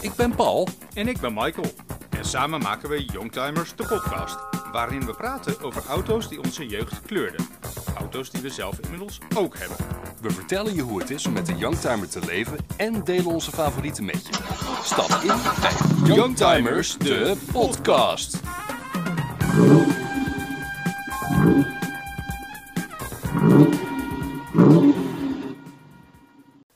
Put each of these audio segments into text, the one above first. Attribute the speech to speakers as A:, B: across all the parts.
A: Ik ben Paul.
B: En ik ben Michael. En samen maken we Youngtimers, de podcast. Waarin we praten over auto's die onze jeugd kleurden. Auto's die we zelf inmiddels ook hebben.
A: We vertellen je hoe het is om met een Youngtimer te leven en delen onze favorieten met je. Stap in bij Youngtimers, de podcast.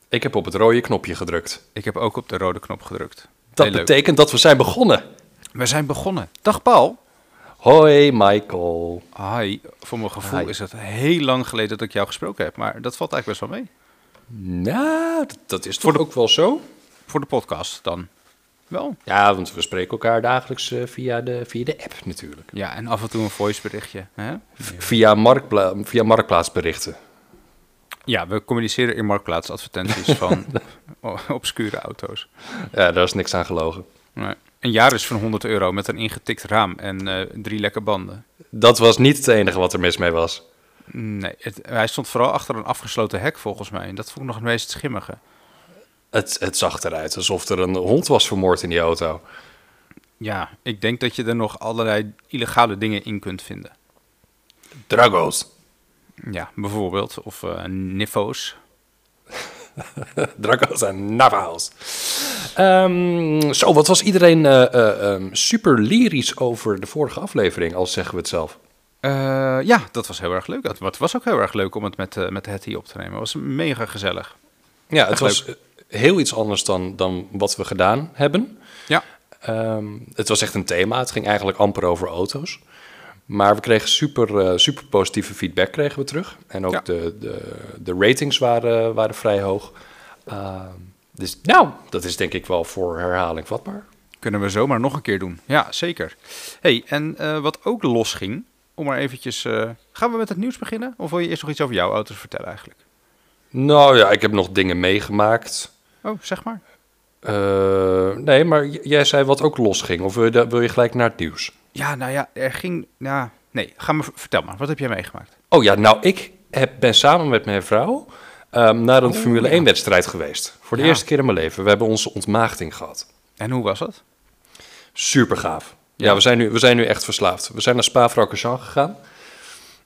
A: Ik heb op het rode knopje gedrukt.
B: Ik heb ook op de rode knop gedrukt.
A: Dat
B: Heel leuk.
A: betekent dat we zijn begonnen.
B: We zijn begonnen. Dag Paul.
A: Hoi Michael.
B: Hi. Voor mijn gevoel
A: Hi.
B: is het heel lang geleden dat ik jou gesproken heb. Maar dat valt eigenlijk best wel mee.
A: Nou, dat- dat is toch ook wel zo?
B: Voor de podcast dan. Wel.
A: Ja, want we spreken elkaar dagelijks eh, via, de, via de app natuurlijk.
B: Ja, en af en toe een voiceberichtje. Hè?
A: V- Via, marktpla via marktplaatsberichten.
B: Ja, we communiceren in marktplaatsadvertenties van o- obscure auto's.
A: Ja, daar is niks aan gelogen.
B: Nee. Een jaar is van 100 euro met een ingetikt raam en eh, drie lekke banden.
A: Dat was niet het enige wat er mis mee was.
B: Nee, het- hij stond vooral achter een afgesloten hek volgens mij. En dat vond ik nog het meest schimmige.
A: Het, het zag eruit alsof er een hond was vermoord in die auto.
B: Ja, ik denk dat je er nog allerlei illegale dingen in kunt vinden.
A: Drago's.
B: Ja, bijvoorbeeld. Of eh niffo's.
A: Drago's en Navajo's. Ehm, zo, wat was iedereen eh, eh, ehm, super lyrisch over de vorige aflevering, als zeggen we het zelf.
B: Eh, ja, dat was heel erg leuk. Het wat was ook heel erg leuk om het met, eh met Hetty op te nemen. Het was mega gezellig.
A: Ja, het
B: Echt
A: was eh, heel iets anders dan, dan wat we gedaan hebben.
B: Ja,
A: Ehm, het was echt een thema. Het ging eigenlijk amper over auto's. Maar we kregen super, eh, super positieve feedback kregen we terug. En ook
B: Ja.
A: de, de, de ratings waren, waren vrij hoog. Ehm, dus nou, dat is denk ik wel voor herhaling vatbaar.
B: Kunnen we zomaar nog een keer doen. Ja, zeker. hey, en eh, wat ook losging, om maar eventjes... eh, gaan we met het nieuws beginnen? Of wil je eerst nog iets over jouw auto's vertellen eigenlijk?
A: Nou ja, ik heb nog dingen meegemaakt.
B: Oh, zeg maar.
A: Eh, nee, maar j- jij zei wat ook losging. Of wil je, da- wil je gelijk naar het nieuws?
B: Ja, nou ja, er ging... Ja, nee, ga maar, vertel maar. Wat heb jij meegemaakt?
A: Oh ja, nou, ik heb, ben samen met mijn vrouw ehm, naar een Formule 1-wedstrijd geweest. Voor de
B: Oh, Ja.
A: eerste keer in mijn leven. We hebben onze ontmaagding gehad.
B: En hoe was dat?
A: Super gaaf. Ja, we, zijn nu, we zijn nu echt verslaafd. We zijn naar Spa-Francorchamps gegaan.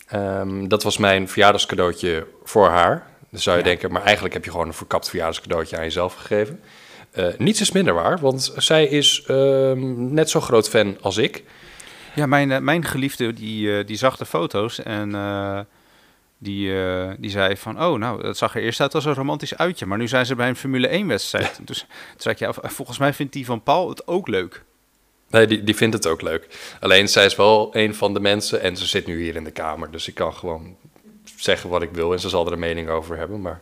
A: Ehm, dat was mijn verjaardagscadeautje voor haar. Dan zou je denken, maar eigenlijk heb je gewoon een verkapt verjaardagscadeautje aan jezelf gegeven. Eh, niets is minder waar, want zij is ehm, net zo groot fan als ik.
B: Ja, mijn, eh, mijn geliefde die, eh, die zag de foto's en eh, die, eh, die zei van... Oh, nou, het zag er eerst uit als een romantisch uitje. Maar nu zijn ze bij een Formule 1-wedstrijd. Dus toen zei ik, ja, volgens mij vindt die van Paul het ook leuk.
A: Nee, die, die vindt het ook leuk. Alleen zij is wel een van de mensen en ze zit nu hier in de kamer. Dus ik kan gewoon zeggen wat ik wil en ze zal er een mening over hebben. Maar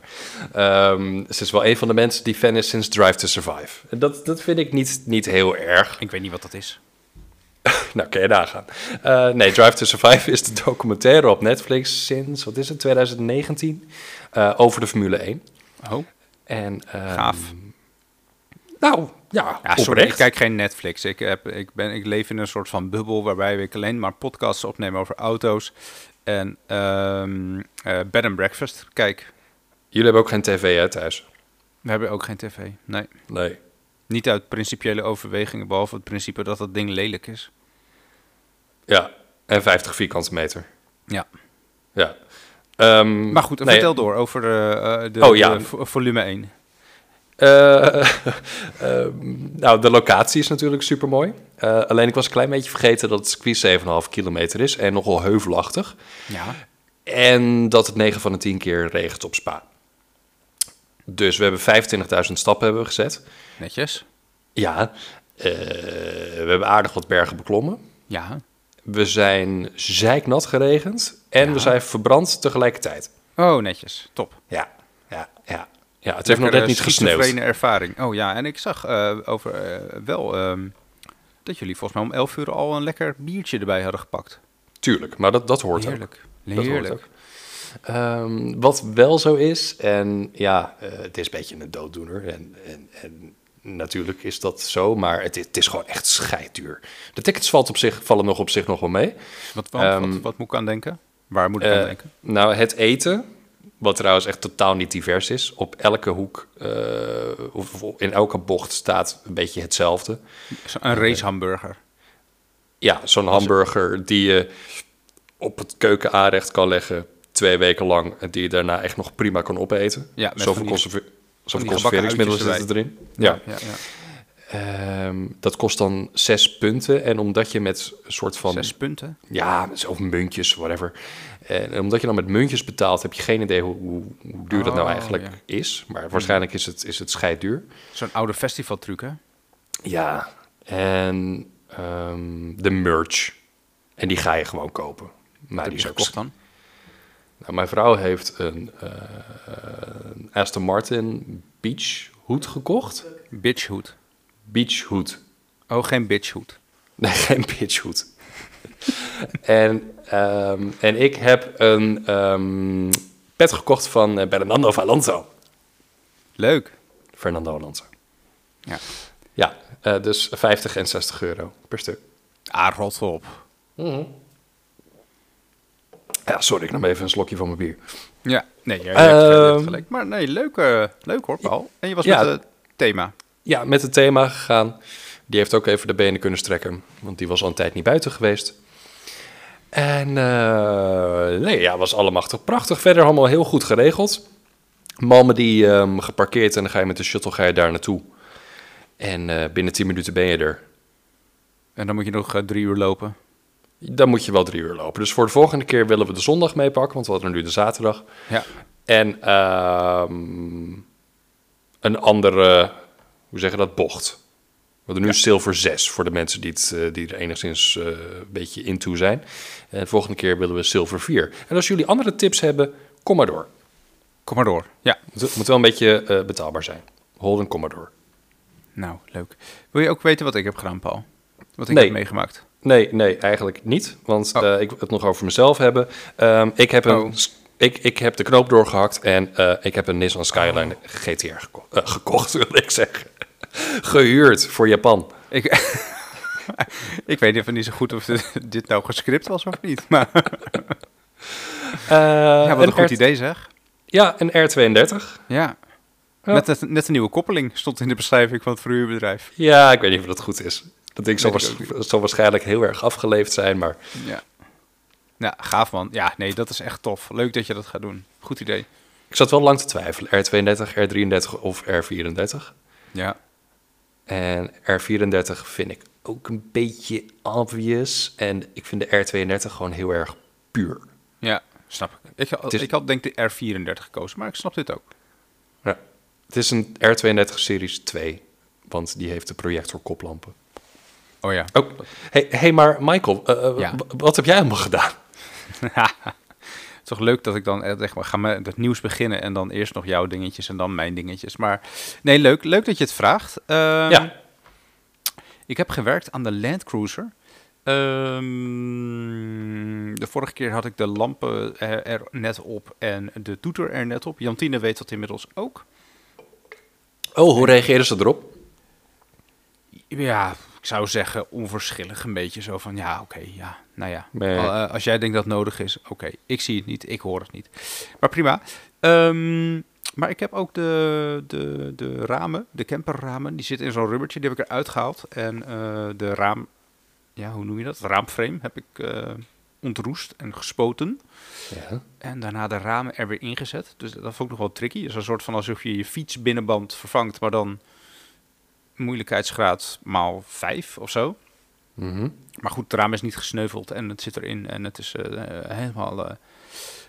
A: ehm, ze is wel een van de mensen die fan is sinds Drive to Survive. En dat, dat vind ik niet, niet heel erg.
B: Ik weet niet wat dat is.
A: Nou, kan je nagaan. Eh, nee, Drive to Survive is de documentaire op Netflix sinds, wat is het, 2019? eh, over de Formule 1.
B: Oh,
A: En, ehm,
B: gaaf.
A: Nou, ja,
B: Ja, sorry,
A: oprecht.
B: ik kijk geen Netflix. Ik, heb, ik, ben, ik leef in een soort van bubbel waarbij ik alleen maar podcasts opneem over auto's. En ehm, eh, bed and breakfast. Kijk,
A: Jullie hebben ook geen tv hè, thuis?
B: we hebben ook geen tv. Nee,
A: Nee.
B: niet uit principiële overwegingen, behalve het principe dat dat ding lelijk is.
A: Ja, en 50 vierkante meter.
B: Ja,
A: Ja. Ehm,
B: maar goed,
A: nee,
B: vertel door over eh, eh, de,
A: Oh, ja.
B: de vo- volume 1.
A: eh, ehm, nou, de locatie is natuurlijk super mooi. alleen ik was een klein beetje vergeten dat het circuit 7,5 kilometer is en nogal heuvelachtig.
B: Ja.
A: En dat het 9 van de 10 keer regent op Spa. Dus we hebben 25.000 stappen hebben we gezet.
B: Netjes.
A: Ja, eh, we hebben aardig wat bergen beklommen.
B: Ja.
A: We zijn zeiknat geregend. En we zijn verbrand tegelijkertijd.
B: Oh, netjes. Top.
A: Ja, ja, ja. ja het heeft nog
B: Lekker,
A: net niet
B: eh,
A: gesneeuwd.
B: schizofrene ervaring. Oh ja, en ik zag eh, over eh, wel ehm, dat jullie volgens mij om 11 uur al een lekker biertje erbij hadden gepakt.
A: Tuurlijk, maar dat, dat hoort ook.
B: Heerlijk.
A: Dat hoort
B: Heerlijk.
A: ook. Ehm, wat wel zo is, en ja, eh, het is een beetje een dooddoener. En, en, en natuurlijk is dat zo, maar het, is- het is gewoon echt scheidduur. De tickets valt op zich, vallen nog op zich nog wel mee.
B: Wat, wat, wat,
A: Ehm,
B: wat moet ik aan denken? Waar moet ik
A: Eh,
B: aan denken?
A: nou, het eten Wat trouwens echt totaal niet divers is. Op elke hoek, eh, of of in elke bocht staat een beetje hetzelfde.
B: Zo-
A: eh,
B: Een race hamburger.
A: Ja, zo'n hamburger die je op het keuken aanrecht kan leggen twee weken lang en die je daarna echt nog prima kan opeten.
B: Ja, met
A: zoveel
B: van die-
A: conserve- zoveel
B: die gebakken
A: conserveringsmiddelen
B: uitjes
A: zitten erin. Ja.
B: ja, ja.
A: Ehm, dat kost dan zes punten en omdat je met een soort van
B: Zes punten.
A: ja, of muntjes, whatever. En omdat je dan met muntjes betaalt, heb je geen idee hoe, hoe, hoe duur dat nou
B: Oh,
A: eigenlijk
B: ja.
A: is. Maar waarschijnlijk is het, is het scheidduur.
B: Zo'n oude festivaltruc, hè?
A: Ja, en ehm, de merch. En die ga je gewoon kopen. Maar
B: Heb
A: die
B: je
A: is ook
B: gekocht dan?
A: Nou, mijn vrouw heeft een eh, een Aston Martin Beach Hood gekocht.
B: Bitchhoed.
A: Beach Hood.
B: Oh, geen bitchhoed.
A: Nee, geen Beach Hood. en, ehm, en ik heb een ehm, pet gekocht van eh, Bernardo Valonzo.
B: Leuk.
A: Fernando Alonso.
B: Ja.
A: Ja, eh, dus 50 en 60 euro per stuk.
B: Ah, rot op.
A: Ja, sorry, ik nam even een slokje van mijn bier.
B: Ja, nee, ja, je hebt gelijk, je hebt
A: Ehm.
B: gelijk. Maar nee, leuk, eh, leuk hoor, Paul. En je was
A: Ja.
B: met het thema.
A: Ja, met het thema gegaan. Die heeft ook even de benen kunnen strekken, want die was al een tijd niet buiten geweest. En eh, nee, ja, was allemachtig prachtig. Verder allemaal heel goed geregeld. Malmen die ehm, geparkeerd en dan ga je met de shuttle ga je daar naartoe. En eh, binnen 10 minuten ben je er.
B: En dan moet je nog eh, drie uur lopen.
A: Dan moet je wel drie uur lopen. Dus voor de volgende keer willen we de zondag meepakken, want we hadden nu de zaterdag.
B: Ja.
A: En ehm, een andere, hoe zeg je dat, bocht. We hadden nu zilver 6 voor de mensen die, het, eh, die er enigszins eh, een beetje into zijn. En de volgende keer willen we zilver 4. En als jullie andere tips hebben, kom maar door.
B: Kom maar door. Ja.
A: Het moet wel een beetje eh, betaalbaar zijn. Holden, kom maar door.
B: Nou, leuk. Wil je ook weten wat ik heb gedaan, Paul? Wat ik
A: Nee.
B: heb meegemaakt?
A: Nee, nee, eigenlijk niet. Want
B: Oh.
A: eh, ik wil het nog over mezelf hebben. Ehm, ik, heb een,
B: Oh.
A: ik, ik heb de knoop doorgehakt en eh, ik heb een Nissan Skyline GTR geko- eh, gekocht, wil ik zeggen. Gehuurd voor Japan.
B: Ik, ik weet even niet zo goed of dit- dit nou gescript was of niet. Maar ja, wat Eh, een goed idee zeg.
A: Ja, een R32.
B: Ja.
A: Ja.
B: Net, net, net een nieuwe koppeling stond in de beschrijving van het verhuurbedrijf.
A: Ja, ik weet niet of dat goed is. Dat ding zal,
B: Weet ik
A: waars- zal waarschijnlijk heel erg afgeleefd zijn, maar
B: Ja. Nou, gaaf man. Ja, nee, dat is echt tof. Leuk dat je dat gaat doen. Goed idee.
A: ik zat wel lang te twijfelen. R32, R33 of R34.
B: Ja.
A: En R34 vind ik ook een beetje obvious. En ik vind de R32 gewoon heel erg puur.
B: Ja, snap ik. Ik had,
A: is-
B: ik had denk ik de R34 gekozen, maar ik snap dit ook.
A: Ja. Het is een R32 Series 2, want die heeft de projector koplampen.
B: Oh ja.
A: Oh, hey, hey, maar Michael, eh, eh,
B: Ja.
A: w- wat heb jij allemaal gedaan?
B: Het is toch leuk dat ik dan eh, zeg maar, ga met het nieuws beginnen en dan eerst nog jouw dingetjes en dan mijn dingetjes. Maar nee, leuk, leuk dat je het vraagt. Ehm,
A: Ja.
B: Ik heb gewerkt aan de Land Cruiser. Ehm, de vorige keer had ik de lampen er, er net op en de toeter er net op. Jantine weet dat inmiddels ook.
A: Oh, hoe reageerden ze erop?
B: Ja, ik zou zeggen onverschillig een beetje zo van ja, oké, ja, nou ja.
A: Nee.
B: Al, eh, als jij denkt dat het nodig is, oké, ik zie het niet, ik hoor het niet. Maar prima. Ehm, maar ik heb ook de, de, de ramen, de camperramen, die zitten in zo'n rubbertje, die heb ik eruit gehaald. En eh, de raam, ja, hoe noem je dat? Raamframe heb ik eh, ontroest en gespoten.
A: Ja.
B: En daarna de ramen er weer ingezet. Dus dat vond ik nog wel tricky. Dus een soort van alsof je je fietsbinnenband vervangt, maar dan moeilijkheidsgraad maal 5 of zo.
A: Mhm.
B: Maar goed, het raam is niet gesneuveld en het zit erin en het is eh, eh, helemaal, eh,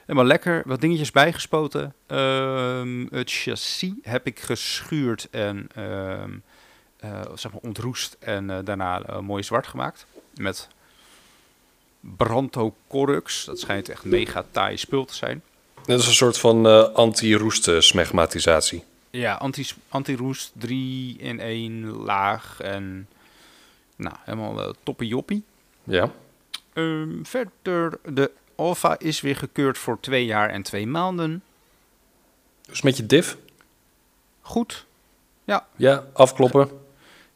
B: helemaal lekker. Wat dingetjes bijgespoten. Ehm, het chassis heb ik geschuurd en ehm, eh, zeg maar ontroest en eh, daarna eh, mooi zwart gemaakt. Met Branto Corux. Dat schijnt echt mega taai spul te zijn.
A: Dat is een soort van eh anti-roest eh, smegmatisatie.
B: Ja, anti- anti-roest 3 in 1 laag en nou, helemaal eh, toppie joppie.
A: Ja.
B: Ehm, verder, de Alfa is weer gekeurd voor twee jaar en twee maanden.
A: Dus met je div?
B: Goed.
A: Ja, afkloppen.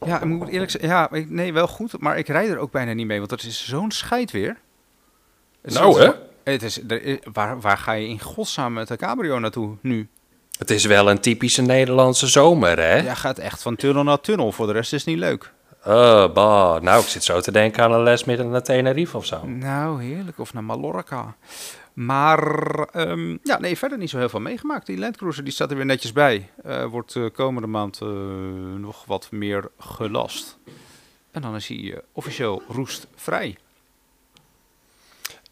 B: Ja, ik moet eerlijk zeggen, ja, ik- nee, wel goed, maar ik rijd er ook bijna niet mee, want dat is zo'n scheid weer. Het is
A: nou,
B: altijd-
A: hè?
B: Het is, er is- waar, waar ga je in godsnaam met de cabrio naartoe nu?
A: Het is wel een typische Nederlandse zomer, hè?
B: Jij gaat echt van tunnel naar tunnel. Voor de rest is het niet leuk.
A: Oh, bah. Nou, ik zit zo te denken aan een les met naar Tenerife of zo.
B: Nou, heerlijk. Of naar Mallorca. Maar ehm, ja, nee, verder niet zo heel veel meegemaakt. Die Land Cruiser die staat er weer netjes bij. Eh, wordt eh, komende maand eh, nog wat meer gelast. En dan is hij eh, officieel roestvrij.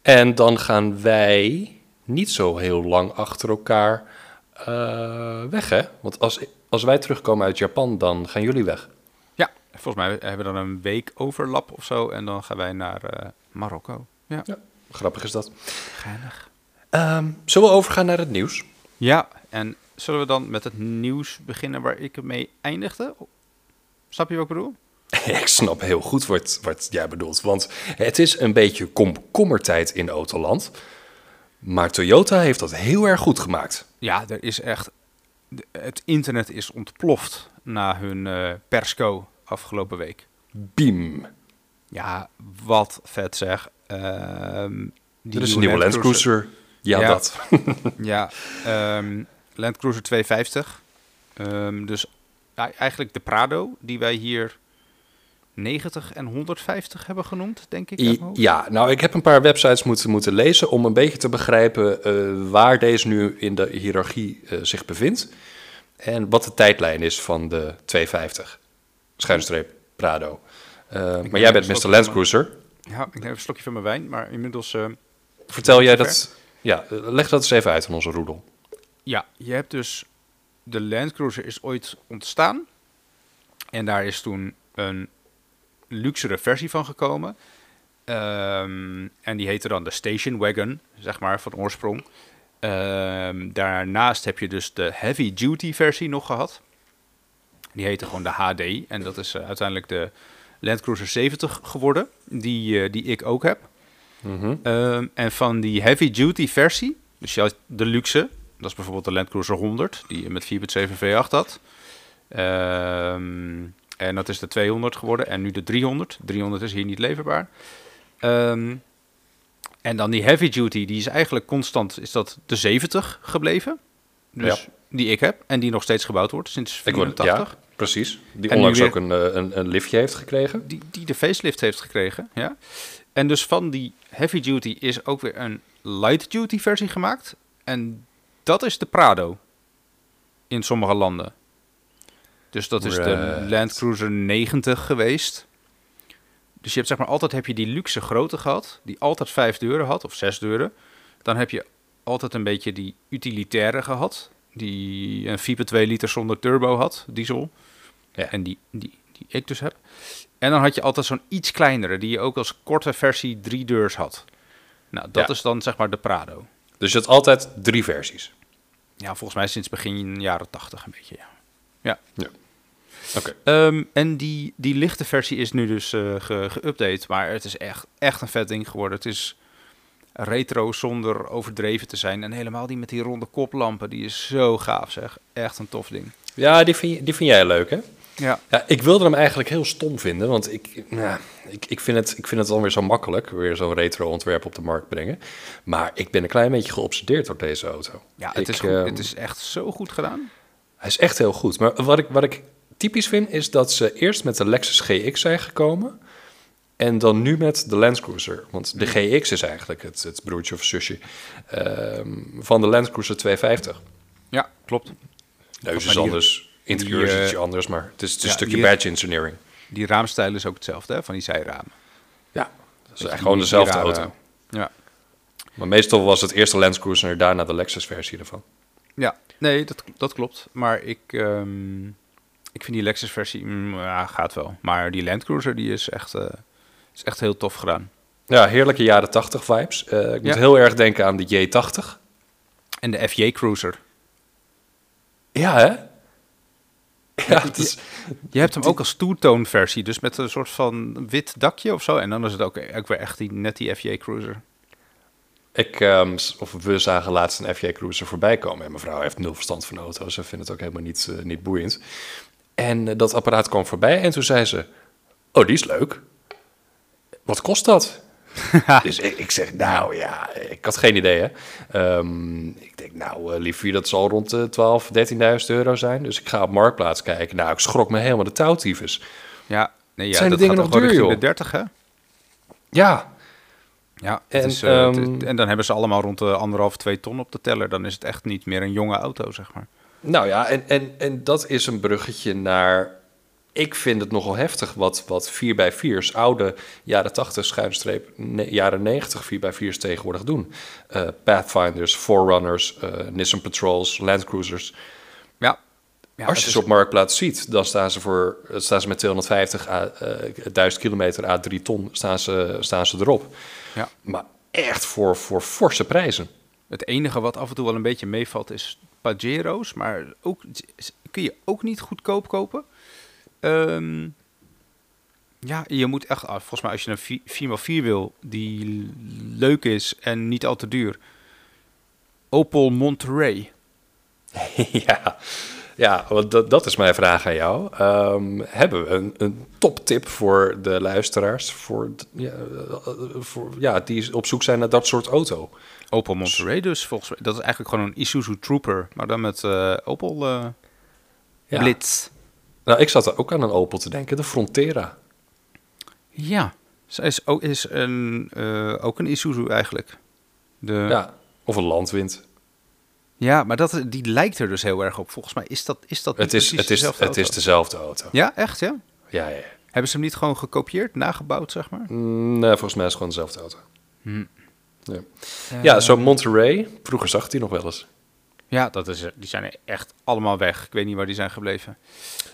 A: En dan gaan wij niet zo heel lang achter elkaar eh, weg, hè? Want als, als wij terugkomen uit Japan, dan gaan jullie weg.
B: Ja, volgens mij hebben we dan een week overlap of zo. En dan gaan wij naar eh, Marokko. Ja,
A: Ja, grappig is dat.
B: geinig.
A: Ehm, zullen we overgaan naar het nieuws?
B: Ja, en zullen we dan met het nieuws beginnen waar ik mee eindigde? Snap je wat ik bedoel?
A: ik snap heel goed wat, wat jij bedoelt. Want het is een beetje komkommertijd in Autoland. Maar Toyota heeft dat heel erg goed gemaakt.
B: Ja, er is echt. de- Het internet is ontploft na hun eh, persco afgelopen week.
A: Beam.
B: Ja, wat vet zeg. Ehm die
A: Er is een nieuwe Land Cruiser. Ja,
B: Ja.
A: dat.
B: Ja, ehm Land Cruiser 250. Ehm, dus ja, eigenlijk de Prado, die wij hier 90 en 150 hebben genoemd, denk ik. uit
A: I-
B: mijn hoofd.
A: Ja, nou, ik heb een paar websites moeten, moeten lezen om een beetje te begrijpen eh, waar deze nu in de hiërarchie eh, zich bevindt. En wat de tijdlijn is van de 250. Schuinstreep Prado. Eh, maar jij
B: even
A: bent
B: een
A: Mr.
B: slokje
A: Land
B: van-
A: Cruiser.
B: ja, ik neem even een slokje van mijn wijn, maar inmiddels... ehm,
A: Vertel jij
B: Ver.
A: dat... Ja, eh, leg dat eens even uit aan onze roedel.
B: Ja, je hebt dus de Land Cruiser is ooit ontstaan. En daar is toen een luxere versie van gekomen. Ehm, en die heette dan de Station Wagon, zeg maar, van oorsprong. Ehm, daarnaast heb je dus de Heavy Duty versie nog gehad. Die heette gewoon de HD. En dat is eh, uiteindelijk de Land Cruiser 70 geworden, die, eh, die ik ook heb.
A: Mhm.
B: Ehm, en van die heavy duty versie, dus je had de luxe, dat is bijvoorbeeld de Land Cruiser 100, die je met 4.7 V8 had. Ehm, en dat is de 200 geworden en nu de 300. 300 is hier niet leverbaar. Ehm, en dan die heavy duty, die is eigenlijk constant is dat de 70 gebleven. Dus die ik heb en die nog steeds gebouwd wordt sinds
A: Ik word,
B: 84.
A: ja, precies. Die
B: En nu
A: onlangs
B: weer-
A: ook een, eh, een, een liftje heeft gekregen.
B: die, die de facelift heeft gekregen. Ja. En dus van die heavy duty is ook weer een light duty versie gemaakt. En dat is de Prado in sommige landen. Dus dat is de
A: Right.
B: Land Cruiser 90 geweest. Dus je hebt zeg maar altijd heb je die luxe grote gehad, die altijd vijf deuren had of zes deuren. Dan heb je altijd een beetje die utilitaire gehad, die een 4,2 liter zonder turbo had, diesel.
A: Ja.
B: En die, die, die ik dus heb. En dan had je altijd zo'n iets kleinere, die je ook als korte versie drie deurs had. Nou, dat
A: Ja.
B: is dan zeg maar de Prado.
A: Dus je had altijd drie versies.
B: Ja, volgens mij sinds begin jaren tachtig een beetje, ja. Ja.
A: Ja. Oké.
B: Ehm, en die, die lichte versie is nu dus eh ge- geüpdate. Maar het is echt, echt een vet ding geworden. Het is retro zonder overdreven te zijn. En helemaal die met die ronde koplampen. Die is zo gaaf zeg. Echt een tof ding.
A: Ja, die vind, je- die vind jij leuk, hè?
B: Ja.
A: Ja, ik wilde hem eigenlijk heel stom vinden, want ik, nou, ik, ik, vind het, ik vind het dan weer zo makkelijk, weer zo'n retro ontwerp op de markt brengen. Maar ik ben een klein beetje geobsedeerd door deze auto.
B: Ja, het,
A: Ik,
B: is goed.
A: ehm,
B: het is echt zo goed gedaan.
A: Hij is echt heel goed. Maar wat ik, wat ik typisch vind, is dat ze eerst met de Lexus GX zijn gekomen en dan nu met de Land Cruiser. Want de
B: Mhm.
A: GX is eigenlijk het, het broertje of zusje ehm, van de Land Cruiser 250.
B: Ja, klopt.
A: Neus
B: Maar
A: is
B: die-
A: anders, interieur
B: die,
A: is
B: eh,
A: ietsje anders, maar het is, het is
B: ja,
A: een stukje
B: die-
A: badge engineering.
B: Die raamstijl is ook hetzelfde hè, van die zijramen.
A: Ja, dat is
B: Weet je,
A: eigenlijk gewoon
B: die-
A: dezelfde
B: die rare-
A: auto.
B: Ja.
A: Maar meestal was het eerste Land Cruiser en daarna de Lexus-versie ervan.
B: Ja, nee, dat, dat klopt. Maar ik, ehm, ik vind die Lexus-versie, mm, ja, gaat wel. Maar die Land Cruiser, die is echt, eh, is echt heel tof gedaan.
A: Ja, heerlijke jaren 80 vibes. Eh, ik moet
B: Ja.
A: heel erg denken aan de J80.
B: En de FJ Cruiser.
A: Ja, hè? Ja, het is,
B: Je hebt hem ook als two-tone-versie, dus met een soort van wit dakje of zo. En dan is het ook, ook weer echt die, net die FJ Cruiser.
A: ik, ehm, s- of we zagen laatst een FJ Cruiser voorbij komen. En mevrouw heeft nul verstand van auto's. Ze vindt het ook helemaal niet, eh, niet boeiend. En eh, dat apparaat kwam voorbij en toen zei ze... Oh, die is leuk. Wat kost dat? dus ik, ik zeg, nou ja, ik had geen idee. Hè? Ehm, ik denk, nou, eh, liefie, dat zal rond de 12, 13.000 euro zijn. Dus ik ga op Marktplaats kijken. Nou, ik schrok me helemaal de touwtyfus.
B: Ja, nee, ja
A: Zijn die
B: dat
A: dingen
B: gaat
A: nog
B: gewoon
A: duur,
B: richting
A: joh?
B: de 30, hè?
A: Ja,
B: Ja,
A: En,
B: en, is, eh, het-
A: ehm,
B: en dan hebben ze allemaal rond de anderhalf, twee ton op de teller. Dan is het echt niet meer een jonge auto, zeg maar.
A: Nou ja, en, en, en dat is een bruggetje naar. Ik vind het nogal heftig wat, wat 4x4's, oude jaren 80, schuinstreep, ne- jaren 90 4x4's tegenwoordig doen. Eh, Pathfinders, Forerunners, eh, Nissan Patrols, Land Cruisers.
B: Ja. ja
A: Als
B: dat
A: je
B: is-
A: ze op Marktplaats ziet, dan staan ze, voor, dan staan ze met 250 à, eh, 1000 kilometer à 3 ton staan ze, staan ze erop.
B: Ja.
A: Maar echt voor, voor forse prijzen.
B: Het enige wat af en toe wel een beetje meevalt is Pajero's. Maar ook, is- kun je ook niet goedkoop kopen. Ehm, ja, je moet echt... ah, volgens mij als je een vi- 4x4 wil die leuk is en niet al te duur. Opel Monterey.
A: Ja, ja want dat, dat is mijn vraag aan jou. Ehm, hebben we een, een toptip voor de luisteraars voor, d- ja, eh, voor, ja, die op zoek zijn naar dat soort auto?
B: Opel Monterey dus volgens mij. Dat is eigenlijk gewoon een Isuzu Trooper. Maar dan met eh, Opel eh,
A: Ja.
B: Blitz.
A: Nou, ik zat er ook aan een Opel te denken, de Frontera.
B: Ja, zij is ook, is een, eh, ook een Isuzu eigenlijk. De, ja.
A: Ja, of een Landwind.
B: maar dat, die lijkt er dus heel erg op. Volgens mij is dat, is dat niet
A: Het is,
B: precies
A: het, is,
B: dezelfde
A: het is
B: auto.
A: dezelfde auto.
B: Ja, echt ja?
A: Ja, ja. ja.
B: Hebben ze hem niet gewoon gekopieerd, nagebouwd zeg maar?
A: Mm, nee, volgens mij is het gewoon dezelfde auto.
B: Hm.
A: Ja,
B: Eh,
A: ja zo'n Monterey, vroeger zag ik die nog wel eens.
B: Ja, dat is, er- die zijn er echt allemaal weg. Ik weet niet waar die zijn gebleven.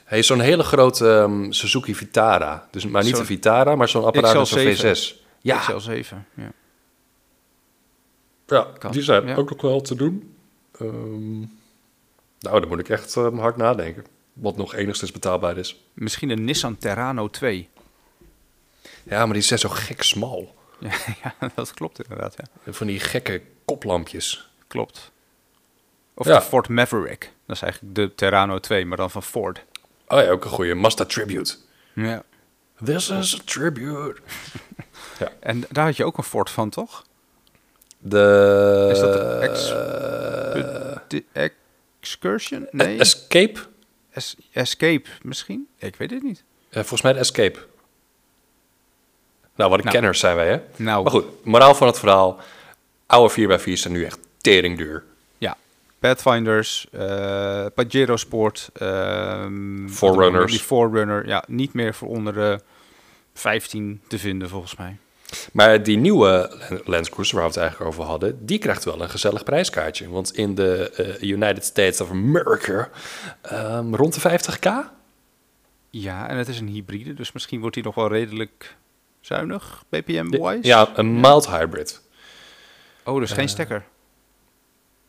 A: Hey, zo'n hele grote ehm, Suzuki Vitara. Dus, maar niet
B: Zo'n-
A: de Vitara, maar zo'n apparaat als een
B: XL7.
A: V6. Ja,
B: XL7, ja.
A: Ja,
B: Kan.
A: die zijn
B: Ja.
A: ook nog wel te doen. Ehm, nou, dan moet ik echt ehm, hard nadenken. Wat nog enigszins betaalbaar is.
B: Misschien een Nissan Terrano 2.
A: Ja, maar die zijn zo gek smal.
B: Ja, ja, dat klopt inderdaad, ja.
A: Van die gekke koplampjes.
B: Klopt. Of
A: Ja.
B: de Ford Maverick. Dat is eigenlijk de Terrano 2, maar dan van Ford.
A: Oh ja, ook een goede Mazda Tribute.
B: Ja.
A: This is a tribute.
B: En daar had je ook een Ford van, toch?
A: De... Eh,
B: Is dat de ex- Eh. De Excursion? Nee.
A: Escape?
B: Es- Escape misschien? Ik weet het niet.
A: Eh, volgens mij de Escape. Nou, wat een
B: Nou.
A: kenners zijn wij, hè?
B: Nou.
A: Maar goed, moraal van het verhaal. Oude 4x4's zijn nu echt tering duur.
B: Ja. Pathfinders, eh Pajero Sport, ehm,
A: Forerunners.
B: Die Forerunner, ja, niet meer voor onder de 15 te vinden volgens mij.
A: Maar die nieuwe Land Cruiser waar we het eigenlijk over hadden, die krijgt wel een gezellig prijskaartje. Want in de eh, United States of America ehm, rond de 50k?
B: Ja, en het is een hybride, dus misschien wordt die nog wel redelijk zuinig, BPM-wise.
A: Ja, een mild hybrid.
B: Oh, dus geen stekker.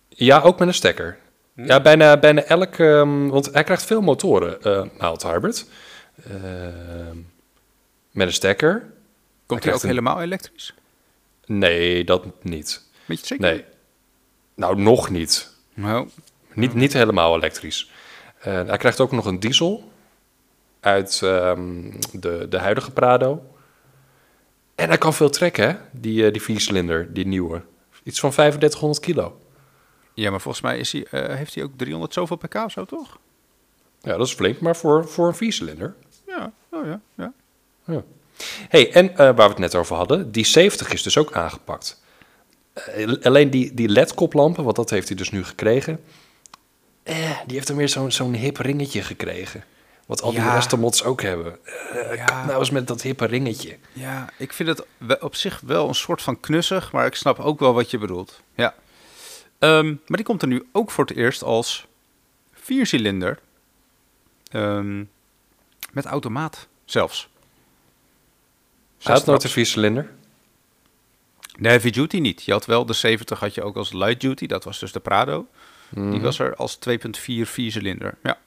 A: Ja, ook met een stekker. Ja, bijna, bijna elk, ehm, want hij krijgt veel motoren, eh, mild hybrid. Ehm, met een stekker?
B: Komt die
A: krijgt
B: ook
A: een-
B: helemaal elektrisch?
A: Nee, dat niet.
B: Weet je het zeker?
A: Nee. Nou, nog niet.
B: Nou,
A: Niet, niet helemaal elektrisch. Eh, hij krijgt ook nog een diesel uit ehm, de, de huidige Prado. En hij kan veel trekken, hè? Die, eh, die viercilinder, die nieuwe. Iets van 3500 kilo.
B: ja, maar volgens mij is hij, eh, heeft hij ook 300 zoveel pk of zo, toch?
A: Ja, dat is flink, maar voor, voor een viercilinder.
B: Ja, oh ja, ja.
A: Ja. hey, en eh, waar we het net over hadden, die 70 is dus ook aangepakt. Eh, alleen die, die LED-koplampen, want dat heeft hij dus nu gekregen. Eh, die heeft dan weer zo'n zo'n hip ringetje gekregen. Wat al die
B: Ja.
A: restamods ook hebben. Eh,
B: Ja.
A: kap nou eens met dat hippe ringetje.
B: Ja, ik vind het we- op zich wel een soort van knussig, maar ik snap ook wel wat je bedoelt. Ja. Ehm, maar die komt er nu ook voor het eerst als viercilinder. Ehm, met automaat zelfs.
A: Hij had nooit
B: Zesstraps.
A: een viercilinder.
B: De heavy duty niet. Je had wel de 70 had je ook als light duty. Dat was dus de Prado. Die was er als 2.4 viercilinder. Ja.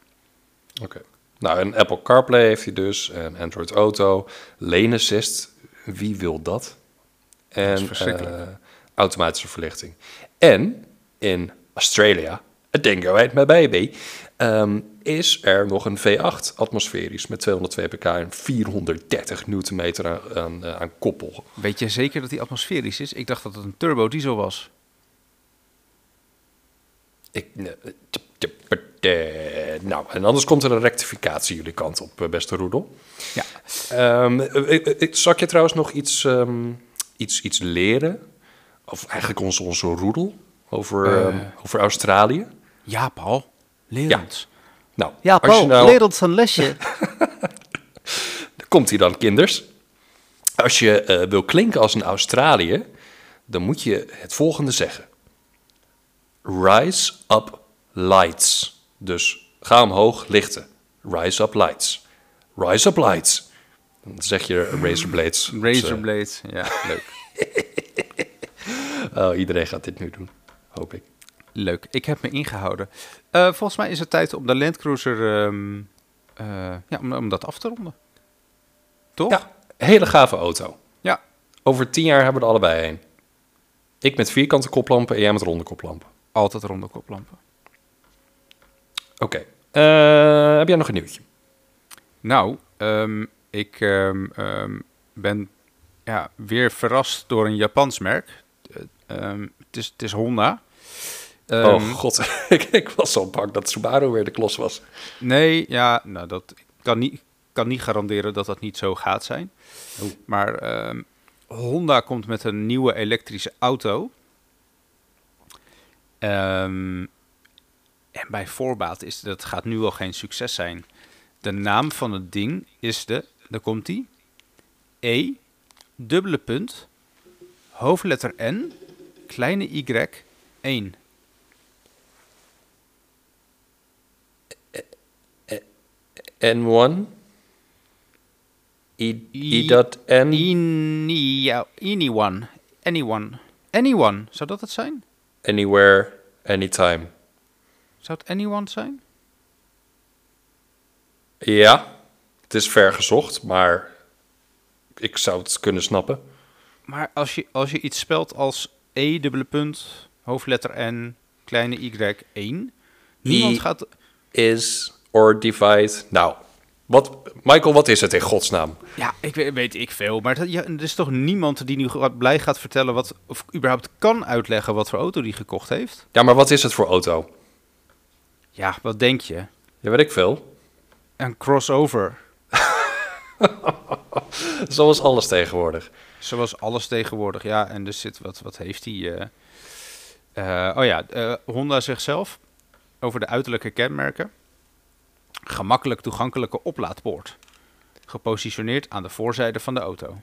A: Oké. Nou, en Apple CarPlay heeft hij dus. En Android Auto. Lane Assist. Wie wil dat? En
B: verschrikkelijk.
A: eh, automatische verlichting. En in Australia A Dingo Ate My Baby, ehm, is er nog een V8 atmosferisch met 202 pk en 430 newtonmeter aan, aan, eh, aan koppel.
B: Weet je zeker dat die atmosferisch is? Ik dacht dat het een turbo diesel was.
A: Ik, eh, tip, tip, eh, nou, en anders komt er een rectificatie jullie kant op, eh, beste Roedel.
B: Ja.
A: Ehm, eh, eh, eh, zal ik je trouwens nog iets, ehm, iets, iets leren? Of eigenlijk onze, onze roedel over, ehm, over Australië?
B: Ja, Paul. Leer
A: Ja.
B: ons.
A: Nou,
C: Ja,
A: als je
C: Paul,
A: nou,
C: leer ons een lesje.
A: komt hij dan, kinders. Als je eh, wil klinken als een Australië, dan moet je het volgende zeggen. Rise up lights. Dus ga omhoog lichten. Rise up lights. Rise up lights. Dan zeg je razor blades. Dus, eh,
B: Razorblade. Ja, leuk.
A: oh, iedereen gaat dit nu doen, hoop ik.
B: Leuk, ik heb me ingehouden. Eh, volgens mij is het tijd om de Land Cruiser ehm, eh, ja, om, om dat af te ronden. Toch?
A: Ja, hele gave auto.
B: Ja.
A: Over tien jaar hebben we er allebei een. Ik met vierkante koplampen en jij met ronde koplampen.
B: Altijd ronde koplampen.
A: Oké. Eh, heb jij nog een nieuwtje?
B: Nou, ehm, ik ehm, ehm, ben ja, weer verrast door een Japans merk. Eh, ehm, Het is, het is Honda. Ehm,
A: oh god, ik, ik was al bang dat Subaru weer de klos was.
B: Nee, ja, nou, dat ik kan niet, kan niet garanderen dat dat niet zo gaat zijn.
A: Oh.
B: Maar ehm, Honda komt met een nieuwe elektrische auto. Ehm, en bij voorbaat is dat gaat nu al geen succes zijn. De naam van het ding is de, daar komt die, E, dubbele punt, hoofdletter N, kleine Y, 1.
A: N1, I, I dat N,
B: Any, anyone. Anyone. Anyone. Zou dat het zijn?
A: anywhere, anytime.
B: Zou het anyone zijn?
A: Ja, het is ver gezocht, maar ik zou het kunnen snappen.
B: Maar als je, als je iets spelt als E dubbele punt, hoofdletter N, kleine Y, 1. Niemand
A: I-
B: gaat...
A: Is or divide. Nou, wat, Michael, wat is het in godsnaam?
B: Ja, ik weet, weet ik veel. Maar dat, ja, er is toch niemand die nu ge- blij gaat vertellen wat... Of überhaupt kan uitleggen wat voor auto die gekocht heeft?
A: Ja, maar wat is het voor auto?
B: Ja, wat denk je?
A: Ja, weet ik veel.
B: Een crossover.
A: Zoals alles tegenwoordig.
B: Zoals alles tegenwoordig, ja. En dus zit wat, wat heeft hij? eh? Eh, oh ja, eh, Honda zichzelf over de uiterlijke kenmerken. Gemakkelijk toegankelijke oplaadpoort. Gepositioneerd aan de voorzijde van de auto.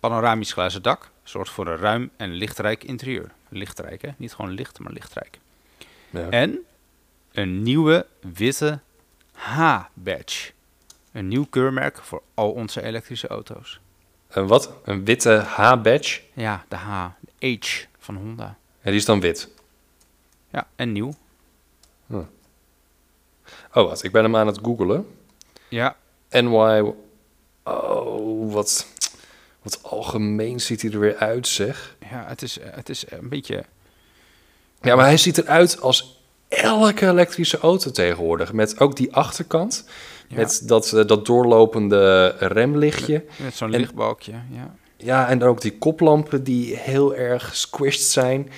B: Panoramisch glazen dak zorgt voor een ruim en lichtrijk interieur. Lichtrijk, hè? Niet gewoon licht, maar lichtrijk.
A: Ja.
B: En een nieuwe witte H-badge. Een nieuw keurmerk voor al onze elektrische auto's.
A: Een wat? Een witte H-badge.
B: Ja, de H. De H van Honda.
A: En die is dan wit.
B: Ja, en nieuw.
A: Oh, wat? Ik ben hem aan het googelen.
B: Ja,
A: NY. Oh, wat, wat algemeen ziet hij er weer uit, zeg.
B: ja het, is, eh, het is een beetje...
A: Ja, maar hij ziet eruit als elke elektrische auto tegenwoordig. Met ook die achterkant.
B: Ja.
A: Met dat, eh, dat doorlopende remlichtje.
B: Met zo'n
A: En-
B: lichtbalkje, ja.
A: Ja, en ook die koplampen die heel erg squished zijn.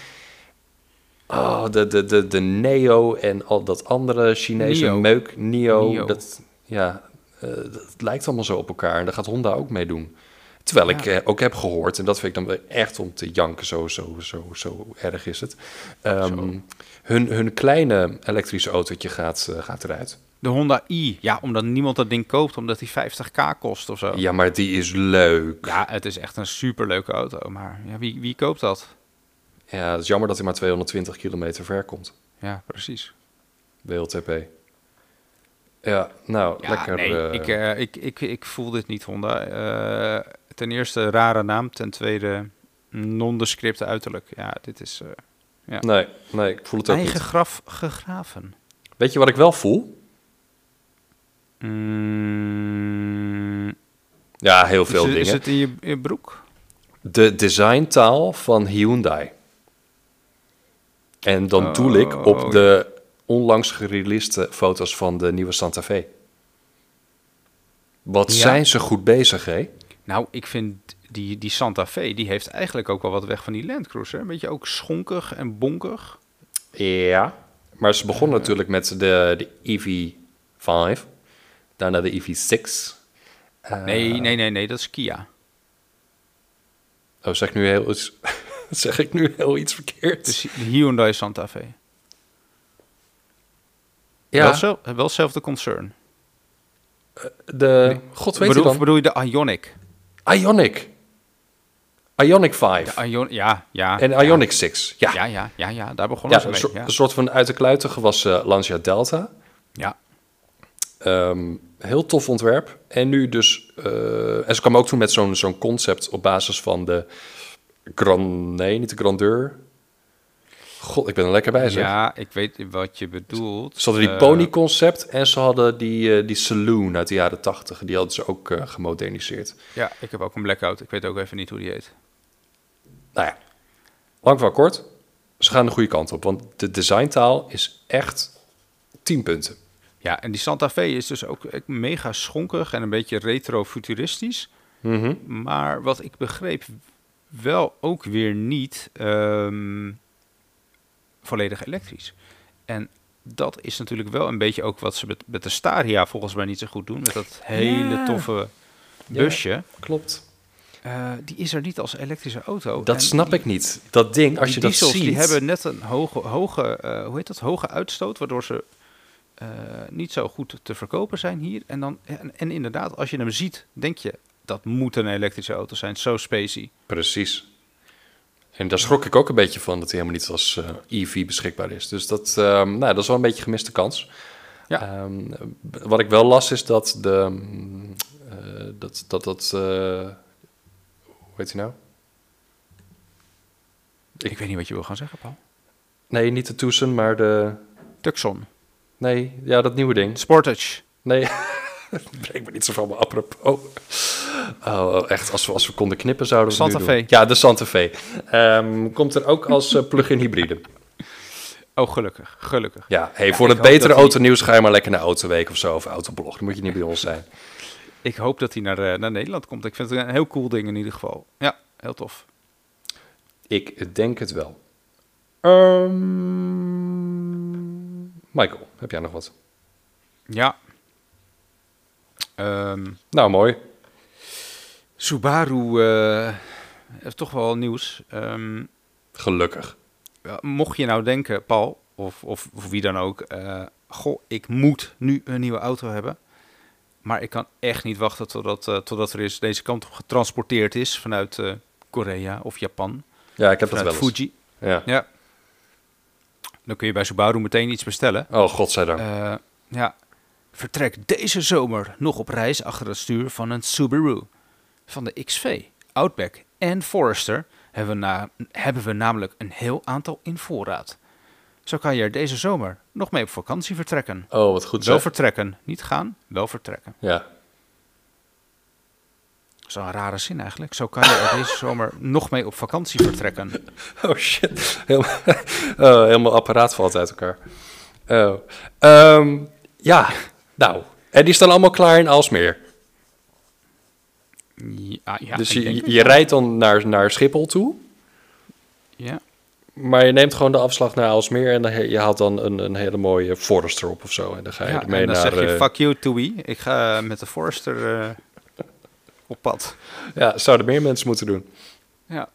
A: Oh, de, de, de, de Neo en al dat andere Chinese
B: Neo.
A: meuk. Neo.
B: Neo.
A: Dat, ja, eh, dat lijkt allemaal zo op elkaar. En daar gaat Honda ook mee doen. Terwijl ik
B: Ja.
A: eh, ook heb gehoord, en dat vind ik dan weer echt om te janken, zo, zo, zo, zo erg is het. Ehm, hun, hun kleine elektrische autootje gaat, eh, gaat eruit.
B: De Honda i. Ja, omdat niemand dat ding koopt, omdat die 50k kost of zo. Ja,
A: Ja, maar die is leuk.
B: het is echt een superleuke auto, maar ja, wie, wie koopt dat?
A: Ja, het is jammer dat hij maar 220 kilometer ver komt.
B: Ja, precies.
A: WLTP. Ja, nou,
B: Ja,
A: lekker.
B: nee,
A: eh,
B: ik, eh, ik, ik, ik voel dit niet, Honda. Eh, ten eerste rare naam, ten tweede nondescript uiterlijk. Ja, dit is eh,
A: nee, nee, ik voel het ook
B: eigen
A: niet.
B: graf gegraven.
A: Weet je wat ik wel voel?
B: Mm,
A: Ja, heel veel
B: is,
A: dingen.
B: Is het in je, in je broek?
A: De designtaal van Hyundai. En
B: Oh,
A: dan doel ik op de onlangs gereleaste foto's van de nieuwe Santa Fe. Wat
B: Ja.
A: zijn ze goed bezig, hè?
B: Nou, ik vind die, die Santa Fe, die heeft eigenlijk ook wel wat weg van die Land Cruiser. Een beetje ook schonkig en bonkig.
A: Ja. Maar ze begon
B: Eh.
A: natuurlijk met de, de EV5, daarna de E EV6. Eh,
B: Nee, nee, nee, nee, dat is Kia.
A: Oh, zeg ik nu heel iets, zeg ik nu heel iets verkeerd?
B: Dus de Hyundai Santa Fe. Wel,
A: ja,
B: zel- wel hetzelfde concern.
A: de... God weet je
B: bedoel,
A: dan.
B: of bedoel je de Ionic?
A: Ionic. Ionic 5.
B: De Ion ja, ja.
A: en Ionic 6. Ja, ja,
B: Ja, ja, ja, ja, daar begonnen
A: een,
B: ze
A: soort-
B: mee. Ja.
A: een soort van uit de kluiten gewassen Lancia Delta.
B: ja.
A: Ehm, heel tof ontwerp. En nu dus... eh, en ze kwam ook toen met zo'n zo'n concept op basis van de... Grand, nee, niet de Grandeur. God, ik ben er lekker bij, zeg.
B: Ja, ik weet wat je bedoelt.
A: Ze hadden die
B: Eh,
A: pony-concept en ze hadden die, eh, die saloon uit de jaren 80. Die hadden ze ook eh, gemoderniseerd.
B: Ja, ik heb ook een blackout. Ik weet ook even niet hoe die heet.
A: Nou ja, lang van kort. Ze gaan de goede kant op, want de designtaal is echt 10 punten.
B: Ja, en die Santa Fe is dus ook eh, mega schonkig en een beetje retro-futuristisch.
A: Mhm.
B: Maar wat ik begreep, wel ook weer niet ehm, volledig elektrisch. En dat is natuurlijk wel een beetje ook wat ze met, met de Staria volgens mij niet zo goed doen. Met dat hele
A: Ja.
B: toffe busje.
A: Klopt.
B: Eh, die is er niet als elektrische auto.
A: Dat
B: En
A: snap
B: die-
A: ik niet. Dat ding, als
B: Nou, die
A: je dat
B: diesels,
A: ziet...
B: die hebben net een hoge, hoge, eh, hoe heet dat, hoge uitstoot, waardoor ze eh, niet zo goed te verkopen zijn hier. En, dan, en, en inderdaad, als je hem ziet, denk je, dat moet een elektrische auto zijn, zo spacey.
A: Precies. En daar schrok ik ook een beetje van, dat hij helemaal niet als eh, EV beschikbaar is. Dus dat, ehm, nou, dat is wel een beetje gemiste kans.
B: Ja.
A: Ehm, b- wat ik wel las is dat de... mm, eh, dat, dat, dat eh, hoe heet hij nou?
B: Ik, weet niet wat je wil gaan zeggen, Paul.
A: Nee, niet de Tucson, maar de...
B: Tucson,
A: Nee, ja, dat nieuwe ding.
B: Sportage.
A: Nee, breng me niet zo van me apropos. Oh, echt, als we, als we konden knippen zouden we het
B: Santa
A: nu doen.
B: Fe.
A: Ja, de Santa Fe. Ehm, komt er ook als eh, plug-in hybride.
B: Oh, gelukkig, gelukkig.
A: Ja, hey, voor het
B: ik hoop
A: betere
B: dat die-
A: autonieuws ga je maar lekker naar Autoweek of zo. Of Autoblog, dan moet je niet bij ons zijn.
B: Ik hoop dat hij naar, eh, naar Nederland komt. Ik vind het een heel cool ding in ieder geval. Ja, heel tof.
A: Ik denk het wel. Ehm, Michael, heb jij nog wat?
B: Ja. Ehm,
A: Nou, mooi.
B: Subaru eh, heeft toch wel nieuws. Ehm,
A: Gelukkig.
B: Ja, mocht je nou denken, Paul, of, of, of wie dan ook, eh, goh, ik moet nu een nieuwe auto hebben. Maar ik kan echt niet wachten totdat, eh, totdat er is deze kant op getransporteerd is vanuit eh, Korea of Japan.
A: Ja, ik heb dat
B: vanuit
A: wel eens.
B: Fuji.
A: Ja.
B: Ja. Dan kun je bij Subaru meteen iets bestellen.
A: Oh, godzijdank.
B: Eh, ja. Vertrek deze zomer nog op reis achter het stuur van een Subaru. Van de XV, Outback en Forester hebben we, na- hebben we namelijk een heel aantal in voorraad. Zo kan je er deze zomer nog mee op vakantie vertrekken.
A: Oh, wat goed
B: Wel
A: zo.
B: vertrekken, niet gaan, wel vertrekken.
A: Ja,
B: Dat is wel een rare zin eigenlijk. Zo kan je er deze zomer nog mee op vakantie vertrekken.
A: Oh shit. Helemaal, oh, helemaal apparaat valt uit elkaar. Oh. Ehm, ja, nou. En die staan allemaal klaar in Alsmeer.
B: Ja, ja,
A: dus
B: ik
A: je,
B: denk
A: je,
B: het.
A: je rijdt dan naar, naar Schiphol toe.
B: ja.
A: Maar je neemt gewoon de afslag naar Alsmeer. En dan, he- je haalt dan een, een hele mooie Forester op of zo. En dan ga je
B: Ja,
A: ermee
B: en dan
A: naar...
B: zeg je,
A: eh,
B: fuck you, Toei. Ik ga met de Forester eh, op pad.
A: ja, zouden meer mensen moeten doen.
B: Ja.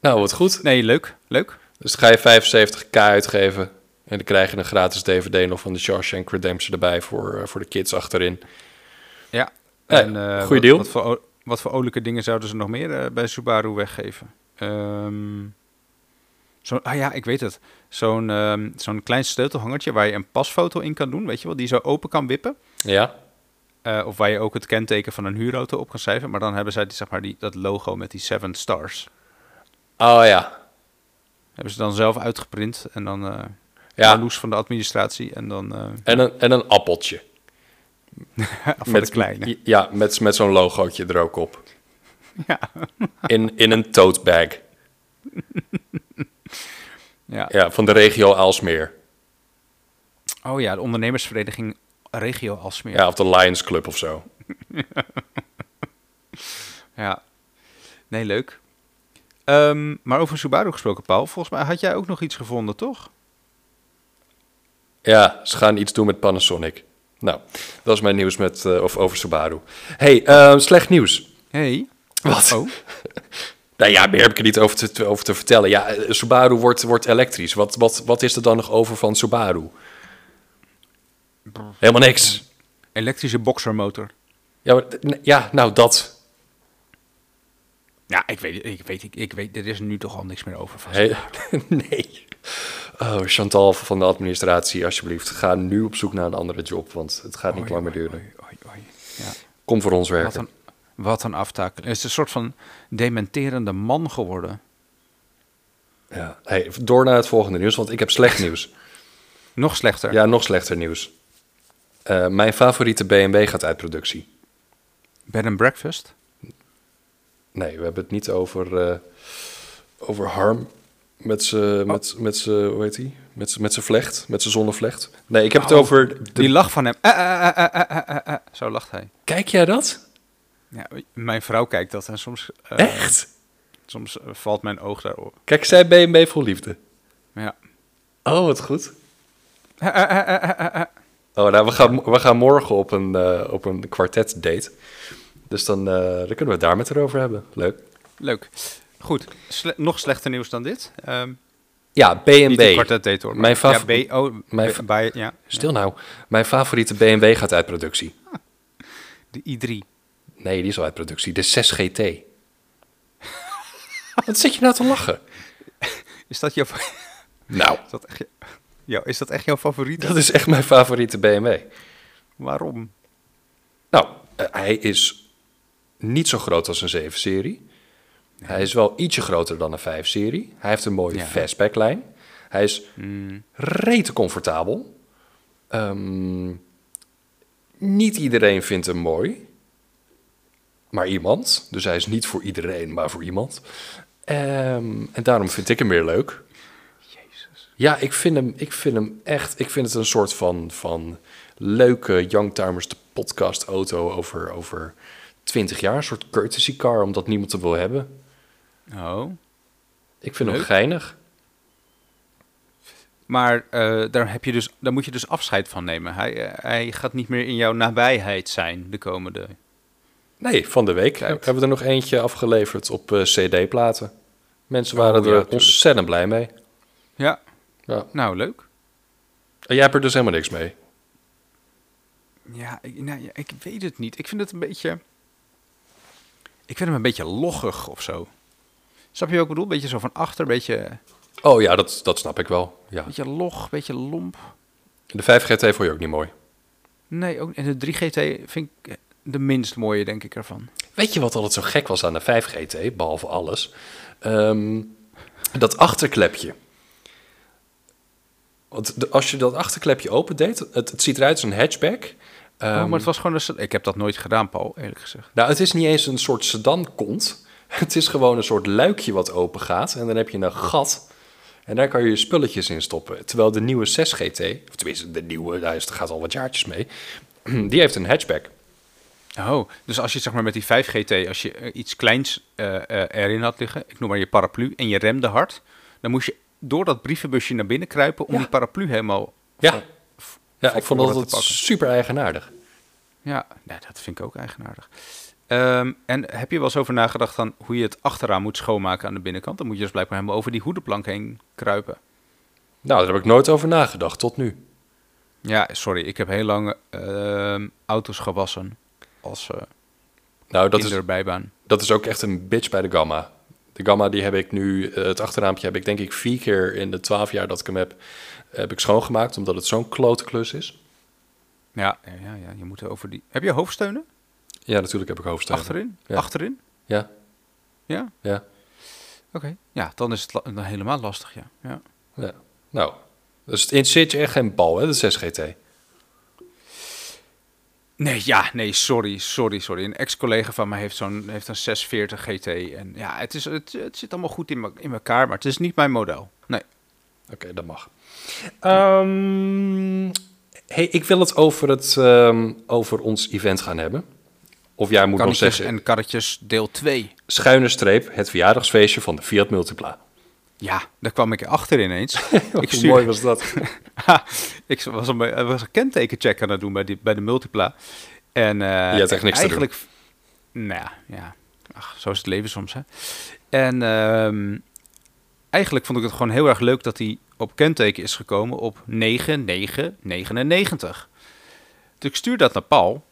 A: Nou, wat goed.
B: Nee, leuk. Leuk.
A: Dus dan ga je 75k uitgeven. En dan krijg je een gratis DVD nog van de Shawshank Redemption erbij voor, eh, voor de kids achterin.
B: Ja.
A: Ja,
B: eh,
A: goeie
B: wat-
A: deal.
B: Wat voor, o- wat voor olijke dingen zouden ze nog meer eh, bij Subaru weggeven? Ehm zo, ah ja, ik weet het. Zo'n ehm, zo'n klein sleutelhangertje waar je een pasfoto in kan doen, weet je wel, die zo open kan wippen.
A: Ja?
B: Eh, of waar je ook het kenteken van een huurauto op kan schrijven. Maar dan hebben zij die, zeg maar, die, dat logo met die seven stars.
A: Oh ja.
B: Hebben ze dan zelf uitgeprint en dan eh
A: Ja.
B: ja. loes van de administratie en dan eh,
A: En een, en een appeltje.
B: van de kleine.
A: Ja, met, met zo'n logootje er ook op.
B: Ja.
A: In, in een tote bag.
B: Ja.
A: Ja, van de regio Aalsmeer.
B: Oh ja, de ondernemersvereniging Regio Alsmeer.
A: Ja, of de Lions Club of zo.
B: Ja. Nee, leuk. Ehm, maar over Subaru gesproken, Paul. Volgens mij had jij ook nog iets gevonden, toch?
A: Ja, ze gaan iets doen met Panasonic. Nou, dat is mijn nieuws met, eh, of over Subaru. hey, eh, slecht nieuws.
B: Hey.
A: Wat?
B: Oh.
A: Nou ja, meer heb ik er niet over te, te- over te vertellen. Ja, eh, Subaru wordt, wordt elektrisch. Wat, wat, wat is er dan nog over van Subaru? Helemaal niks.
B: Elektrische boxermotor.
A: Ja, maar, eh, ja nou dat.
B: Ja, ik weet, ik weet, ik, ik weet, er is nu toch al niks meer over van.
A: He- nee. Oh, Chantal van de administratie, alsjeblieft. Ga nu op zoek naar een andere job, want het gaat niet
B: Oei,
A: lang meer
B: oei,
A: duren.
B: oei, oei, oei. Ja.
A: Kom voor ons
B: Oh, Wat
A: werken.
B: een, wat een aftakeling. Het is een soort van dementerende man geworden.
A: Ja. Hey, door naar het volgende nieuws, want ik heb slecht nieuws.
B: Nog slechter.
A: Ja, nog slechter nieuws. Eh, mijn favoriete BMW gaat uit productie.
B: Bed and breakfast.
A: Nee, we hebben het niet over, eh, over Harm met zijn met, met z'n- hoe heet die? Met z'n- met zijn vlecht, met zijn zonnevlecht. Nee, ik heb het
B: Oh,
A: over... de-
B: Die lach van hem. Eh, eh, eh, eh, eh, eh, eh. Zo lacht hij.
A: Kijk jij dat?
B: Ja, mijn vrouw kijkt dat en soms, eh,
A: Echt?
B: soms eh, valt mijn oog daarop.
A: Kijk, zij BMW vol liefde.
B: Ja.
A: Oh, wat goed.
B: Eh, eh, eh, eh, eh, eh, eh.
A: Oh, nou, we gaan, we gaan morgen op een, eh op een kwartet date. Dus dan, eh, dan kunnen we het daar met erover hebben. Leuk.
B: Leuk. Goed. Sle- nog slechter nieuws dan dit. Ehm,
A: Ja,
B: Niet een
A: BMW.
B: kwartet date hoor. maar-
A: Mijn favor-
B: Ja, B, oh,
A: mijn
B: B-
A: fa-
B: bij- ja.
A: Stil nou. Mijn favoriete BMW gaat uit productie.
B: De i3.
A: Nee, die is al uit productie. De 6GT. Wat zit je nou te lachen?
B: Is dat jouw, fa-
A: Nou,
B: is dat echt, je- ja, is dat echt jouw favoriet?
A: dat is echt mijn favoriete BMW.
B: Waarom?
A: Nou, eh, hij is niet zo groot als een 7-serie. Hij is wel ietsje groter dan een 5-serie. Hij heeft een mooie
B: Ja.
A: fastbacklijn. Hij is rete comfortabel. Ehm, niet iedereen vindt hem mooi. Maar iemand. Dus hij is niet voor iedereen, maar voor iemand. Ehm, en daarom vind ik hem weer leuk.
B: Jezus.
A: Ja, ik vind hem, ik vind hem echt. Ik vind het een soort van, van leuke Youngtimers de podcast auto over, over 20 jaar. Een soort courtesy car, omdat niemand hem wil hebben.
B: Oh.
A: Ik vind hem
B: Leuk.
A: geinig.
B: Maar eh, daar, heb je dus, daar moet je dus afscheid van nemen. Hij, eh, hij gaat niet meer in jouw nabijheid zijn de komende.
A: Nee, van de week
B: Kijk.
A: hebben we er nog eentje afgeleverd op eh, CD-platen. Mensen waren
B: Oh, ja,
A: er
B: tuurlijk.
A: ontzettend blij mee.
B: Ja,
A: Ja.
B: nou leuk.
A: En jij hebt er dus helemaal niks mee.
B: Ja, ik, nou, ja, ik weet het niet. Ik vind het een beetje. Ik vind hem een beetje loggig of zo. Snap je wat ik bedoel? Beetje zo van achter, een beetje,
A: Oh ja, dat, dat snap ik wel. Ja.
B: beetje log, beetje lomp.
A: De 5GT vond je ook niet mooi.
B: Nee, ook, en de 3GT vind ik de minst mooie, denk ik, ervan.
A: Weet je wat altijd zo gek was aan de 5GT, behalve alles? Ehm, dat achterklepje. Want de- als je dat achterklepje opendeed, het, het ziet eruit als een hatchback. Ehm,
B: Oh, maar het was gewoon een... sed- Ik heb dat nooit gedaan, Paul, eerlijk gezegd.
A: Nou, het is niet eens een soort sedan-kont. Het is gewoon een soort luikje wat open gaat. En dan heb je een gat. En daar kan je je spulletjes in stoppen. Terwijl de nieuwe 6GT, of tenminste de nieuwe, daar is- gaat al wat jaartjes mee. Die heeft een hatchback.
B: Oh, dus als je zeg maar met die 5GT, als je eh, iets kleins eh, eh, erin had liggen, ik noem maar je paraplu, en je remde hard, dan moest je door dat brievenbusje naar binnen kruipen om die paraplu helemaal...
A: Ja, ja
B: van
A: ik vond
B: voren te
A: dat
B: pakken.
A: super eigenaardig.
B: Ja, nou, dat vind ik ook eigenaardig. Ehm, en heb je wel eens over nagedacht aan hoe je het achteraan moet schoonmaken aan de binnenkant? Dan moet je dus blijkbaar helemaal over die hoedenplank heen kruipen.
A: Nou, daar heb ik nooit over nagedacht tot nu.
B: Ja, sorry, ik heb heel lang ehm, auto's gewassen als eh
A: Nou, dat is,
B: kinderbijbaan.
A: dat is ook echt een bitch bij de Gamma. De Gamma die heb ik nu, eh, het achterraampje heb ik denk ik vier keer in de twaalf jaar dat ik hem heb, heb ik schoongemaakt, omdat het zo'n klote klus is.
B: Ja, ja, ja, ja, je moet er over die... Heb je hoofdsteunen?
A: Ja, natuurlijk heb ik hoofdsteunen.
B: Achterin?
A: Ja.
B: Achterin?
A: Ja,
B: Ja?
A: ja,
B: Oké. Ja, dan is het la- dan helemaal lastig, ja. ja.
A: ja. Nou, dus het interesseert je echt geen bal, hè, de 6GT.
B: Nee, ja, nee, sorry, sorry, sorry. Een ex-collega van mij heeft, zo'n, heeft een 640 GT. En ja, het, is, het, het zit allemaal goed in, me- in elkaar, maar het is niet mijn model. Nee.
A: Oké, dat mag. Ehm, hey, ik wil het over, het ehm, over ons event gaan hebben. Of jij moet nog
B: Karretjes
A: zeggen,
B: en karretjes deel 2.
A: schuine streep, het verjaardagsfeestje van de Fiat Multipla.
B: Ja, daar kwam ik achter ineens. ik,
A: Hoe
B: stuur-
A: mooi was dat?
B: Ha, ik was een, be- was een kentekencheck aan het doen bij, die, bij de Multipla. En, eh
A: Je had echt niks te
B: eigenlijk, Nou ja, ja. Ach, zo is het leven soms, hè. En ehm, eigenlijk vond ik het gewoon heel erg leuk dat hij op kenteken is gekomen op 9999. Dus ik stuur dat naar Paul,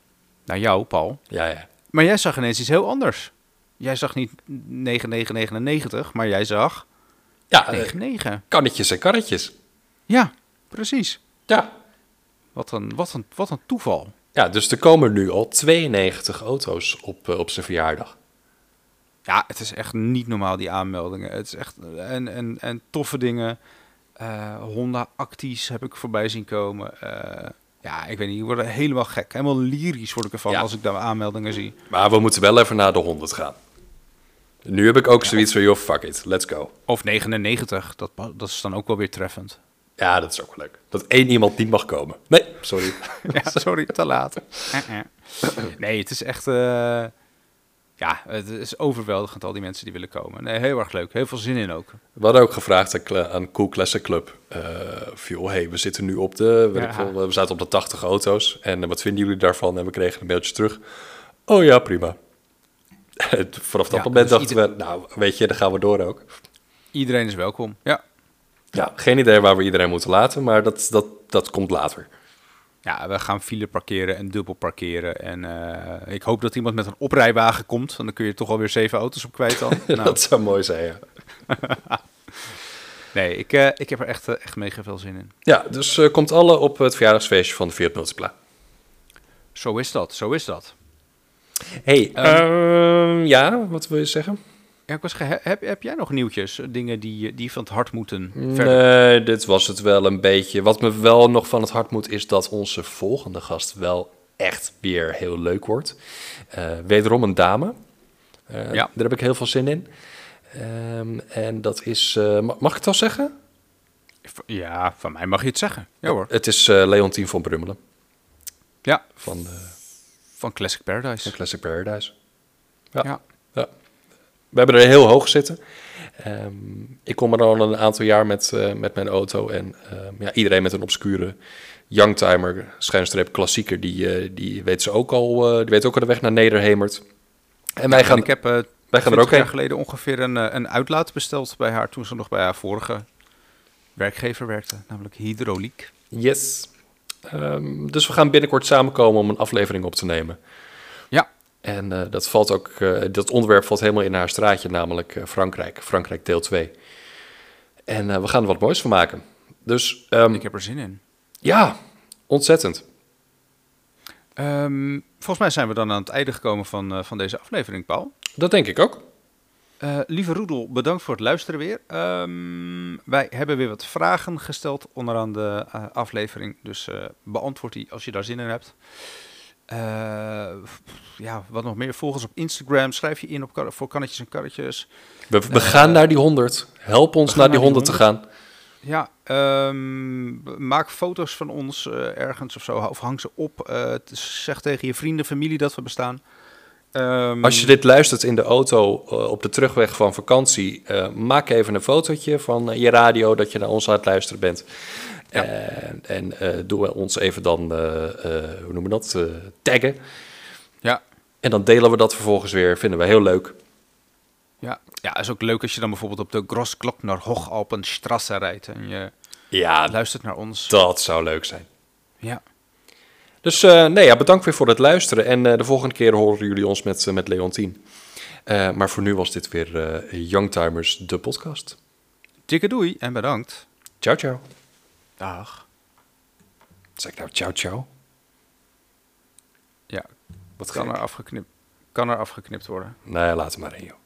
B: naar jou, Paul.
A: ja, ja.
B: Maar jij zag ineens iets heel anders. Jij zag niet 9999, maar jij zag
A: Ja, eh,
B: 99.
A: kannetjes en karretjes.
B: Ja, precies.
A: Ja.
B: Wat een, wat een, wat een toeval.
A: ja, dus er komen nu al 92 auto's op, eh, op zijn verjaardag.
B: Ja, het is echt niet normaal, die aanmeldingen. Het is echt en, en, en toffe dingen. Eh, Honda Actis heb ik voorbij zien komen. Eh, ja, ik weet niet, ik word er helemaal gek. Helemaal lyrisch word ik ervan
A: Ja.
B: als ik daar aanmeldingen zie.
A: Maar we moeten wel even naar de 100 gaan. Nu heb ik ook zoiets van, joh, fuck it, let's go.
B: Of 99, dat, pa- dat is dan ook wel weer treffend.
A: Ja, dat is ook wel leuk. Dat één iemand niet mag komen. Nee, sorry.
B: Ja, sorry, te laat. Eh, eh. Nee, het is echt... eh, ja, het is overweldigend, al die mensen die willen komen. Nee, heel erg leuk. Heel veel zin in ook.
A: We hadden ook gevraagd aan Cla- aan Cool Classic Club. eh van, joh, hey, we zitten nu op de. Weet
B: Ja.
A: ik veel, we zaten op de 80 auto's. En eh, wat vinden jullie daarvan? En we kregen een mailtje terug. Oh ja, prima. En Vanaf dat
B: Ja,
A: moment
B: dus
A: dachten
B: ieder-
A: we, nou, weet je, dan gaan we door ook.
B: Iedereen is welkom. Ja,
A: Ja, geen idee waar we iedereen moeten laten, maar dat, dat, dat komt later.
B: Ja, we gaan file parkeren en dubbel parkeren. En eh, ik hoop dat iemand met een oprijwagen komt. Want dan kun je toch alweer zeven auto's op kwijt dan. nou,
A: Dat zou mooi zijn. Ja,
B: nee, ik, eh, ik heb er echt, eh, echt mega veel zin in.
A: ja dus eh, komt alle op het verjaardagsfeestje van de Fiat Multipla.
B: Zo is dat, zo is dat.
A: Hey, ehm, ja, wat wil je zeggen?
B: Ja, ik was gehe- heb, heb jij nog nieuwtjes? Dingen die, eh, die van het hart moeten verder?
A: Nee, dit was het wel een beetje. Wat me wel nog van het hart moet, is dat onze volgende gast wel echt weer heel leuk wordt. Eh, wederom een dame. Eh,
B: Ja.
A: Daar heb ik heel veel zin in. Ehm, en dat is, eh, ma- mag ik het al zeggen?
B: V- Ja, van mij mag je het zeggen. Ja hoor,
A: Het is eh Leontien van Brummelen
B: ja,
A: van, eh,
B: van Classic Paradise.
A: van Classic Paradise.
B: Ja.
A: Ja. Ja. We hebben er heel hoog zitten. Ehm, ik kom er al een aantal jaar met, eh, met mijn auto. En ehm, ja, iedereen met een obscure youngtimer, schuinstreep klassieker, die, eh, die, weet ze ook al, eh, die weet ook al de weg naar Nederhemert. En wij
B: En
A: gaan...
B: ik heb eh
A: Wij gaan er ook
B: 20 jaar
A: heen.
B: geleden ongeveer een, eh, een uitlaat besteld bij haar... toen ze nog bij haar vorige werkgever werkte, namelijk Hydrauliek.
A: Yes. Ehm, dus we gaan binnenkort samenkomen om een aflevering op te nemen.
B: Ja,
A: En eh, dat, valt ook, eh, dat onderwerp valt helemaal in haar straatje, namelijk eh, Frankrijk. Frankrijk deel 2. En eh, we gaan er wat moois van maken. Dus ehm,
B: ik heb er zin in.
A: ja, ontzettend.
B: Ehm, volgens mij zijn we dan aan het einde gekomen van, eh, van deze aflevering, Paul.
A: Dat denk ik ook.
B: Eh, lieve Roedel, bedankt voor het luisteren weer. Ehm, wij hebben weer wat vragen gesteld onderaan de eh, aflevering. Dus eh, beantwoord die als je daar zin in hebt. Eh, pff, ja, wat nog meer? Volg ons op Instagram. Schrijf je in op kar- voor kannetjes en karretjes.
A: We, we gaan naar die 100. Help ons
B: gaan
A: naar die
B: naar die
A: 100 te Eh, gaan.
B: Ja, ehm, b- maak foto's van ons eh, ergens of zo. Of hang ze op. Eh, t- zeg tegen je vrienden, familie dat we bestaan. Ehm,
A: Als je dit luistert in de auto eh, op de terugweg van vakantie, eh, maak even een fotootje van eh, je radio dat je naar ons aan het luisteren bent.
B: Ja.
A: En, en eh doe ons even dan, eh, eh, hoe noemen we dat, Eh, taggen.
B: Ja,
A: En dan delen we dat vervolgens weer. Vinden we heel leuk.
B: Ja, ja, is ook leuk als je dan bijvoorbeeld op de Grossglockner Hochalpenstrasse rijdt en je
A: Ja,
B: luistert naar ons.
A: dat zou leuk zijn.
B: Ah. Ja.
A: Dus eh, nee, ja, bedankt weer voor het luisteren. En eh, de volgende keer horen jullie ons met, eh, met Leontien. Eh, maar voor nu was dit weer eh, Youngtimers, de podcast.
B: Dikke doei en bedankt.
A: Ciao, ciao.
B: Dag.
A: Zeg ik nou ciao, ciao?
B: Ja,
A: Wat
B: kan
A: gek.
B: er afgeknipt, kan er afgeknipt worden.
A: Nee, laat het maar in, joh.